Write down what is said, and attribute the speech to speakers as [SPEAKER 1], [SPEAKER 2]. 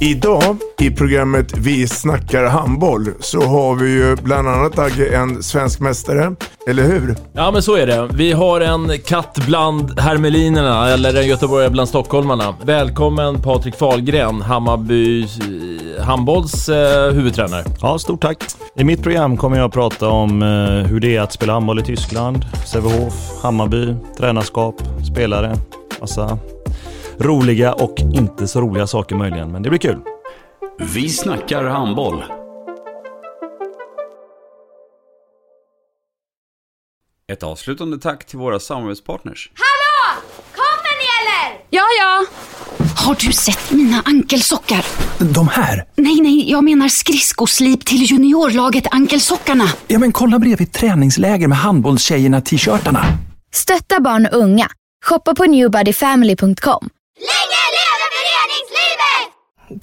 [SPEAKER 1] Idag i programmet Vi snackar handboll så har vi ju bland annat Agge en svensk mästare, eller hur?
[SPEAKER 2] Ja, men så är det. Vi har en katt bland hermelinerna, eller en göteborgare bland stockholmarna. Välkommen Patrik Fahlgren, Hammarby eh, handbolls eh, huvudtränare.
[SPEAKER 3] Ja, stort tack. I mitt program kommer jag att prata om eh, hur det är att spela handboll i Tyskland, Sävehof, Hammarby, tränarskap, spelare. Massa roliga och inte så roliga saker möjligen, men det blir kul.
[SPEAKER 4] Vi snackar handboll. Ett avslutande tack till våra samarbetspartners.
[SPEAKER 5] Hallå! Kommer ni eller?
[SPEAKER 6] Ja, ja. Har du sett mina ankelsockar?
[SPEAKER 7] De här?
[SPEAKER 6] Nej, nej, jag menar skridskoslip till juniorlaget Ankelsockarna.
[SPEAKER 7] Ja, men kolla bredvid träningsläger med handbollstjejerna-t-shirtarna.
[SPEAKER 8] Stötta barn och unga. Shoppa på newbodyfamily.com.
[SPEAKER 5] Länge leve föreningslivet!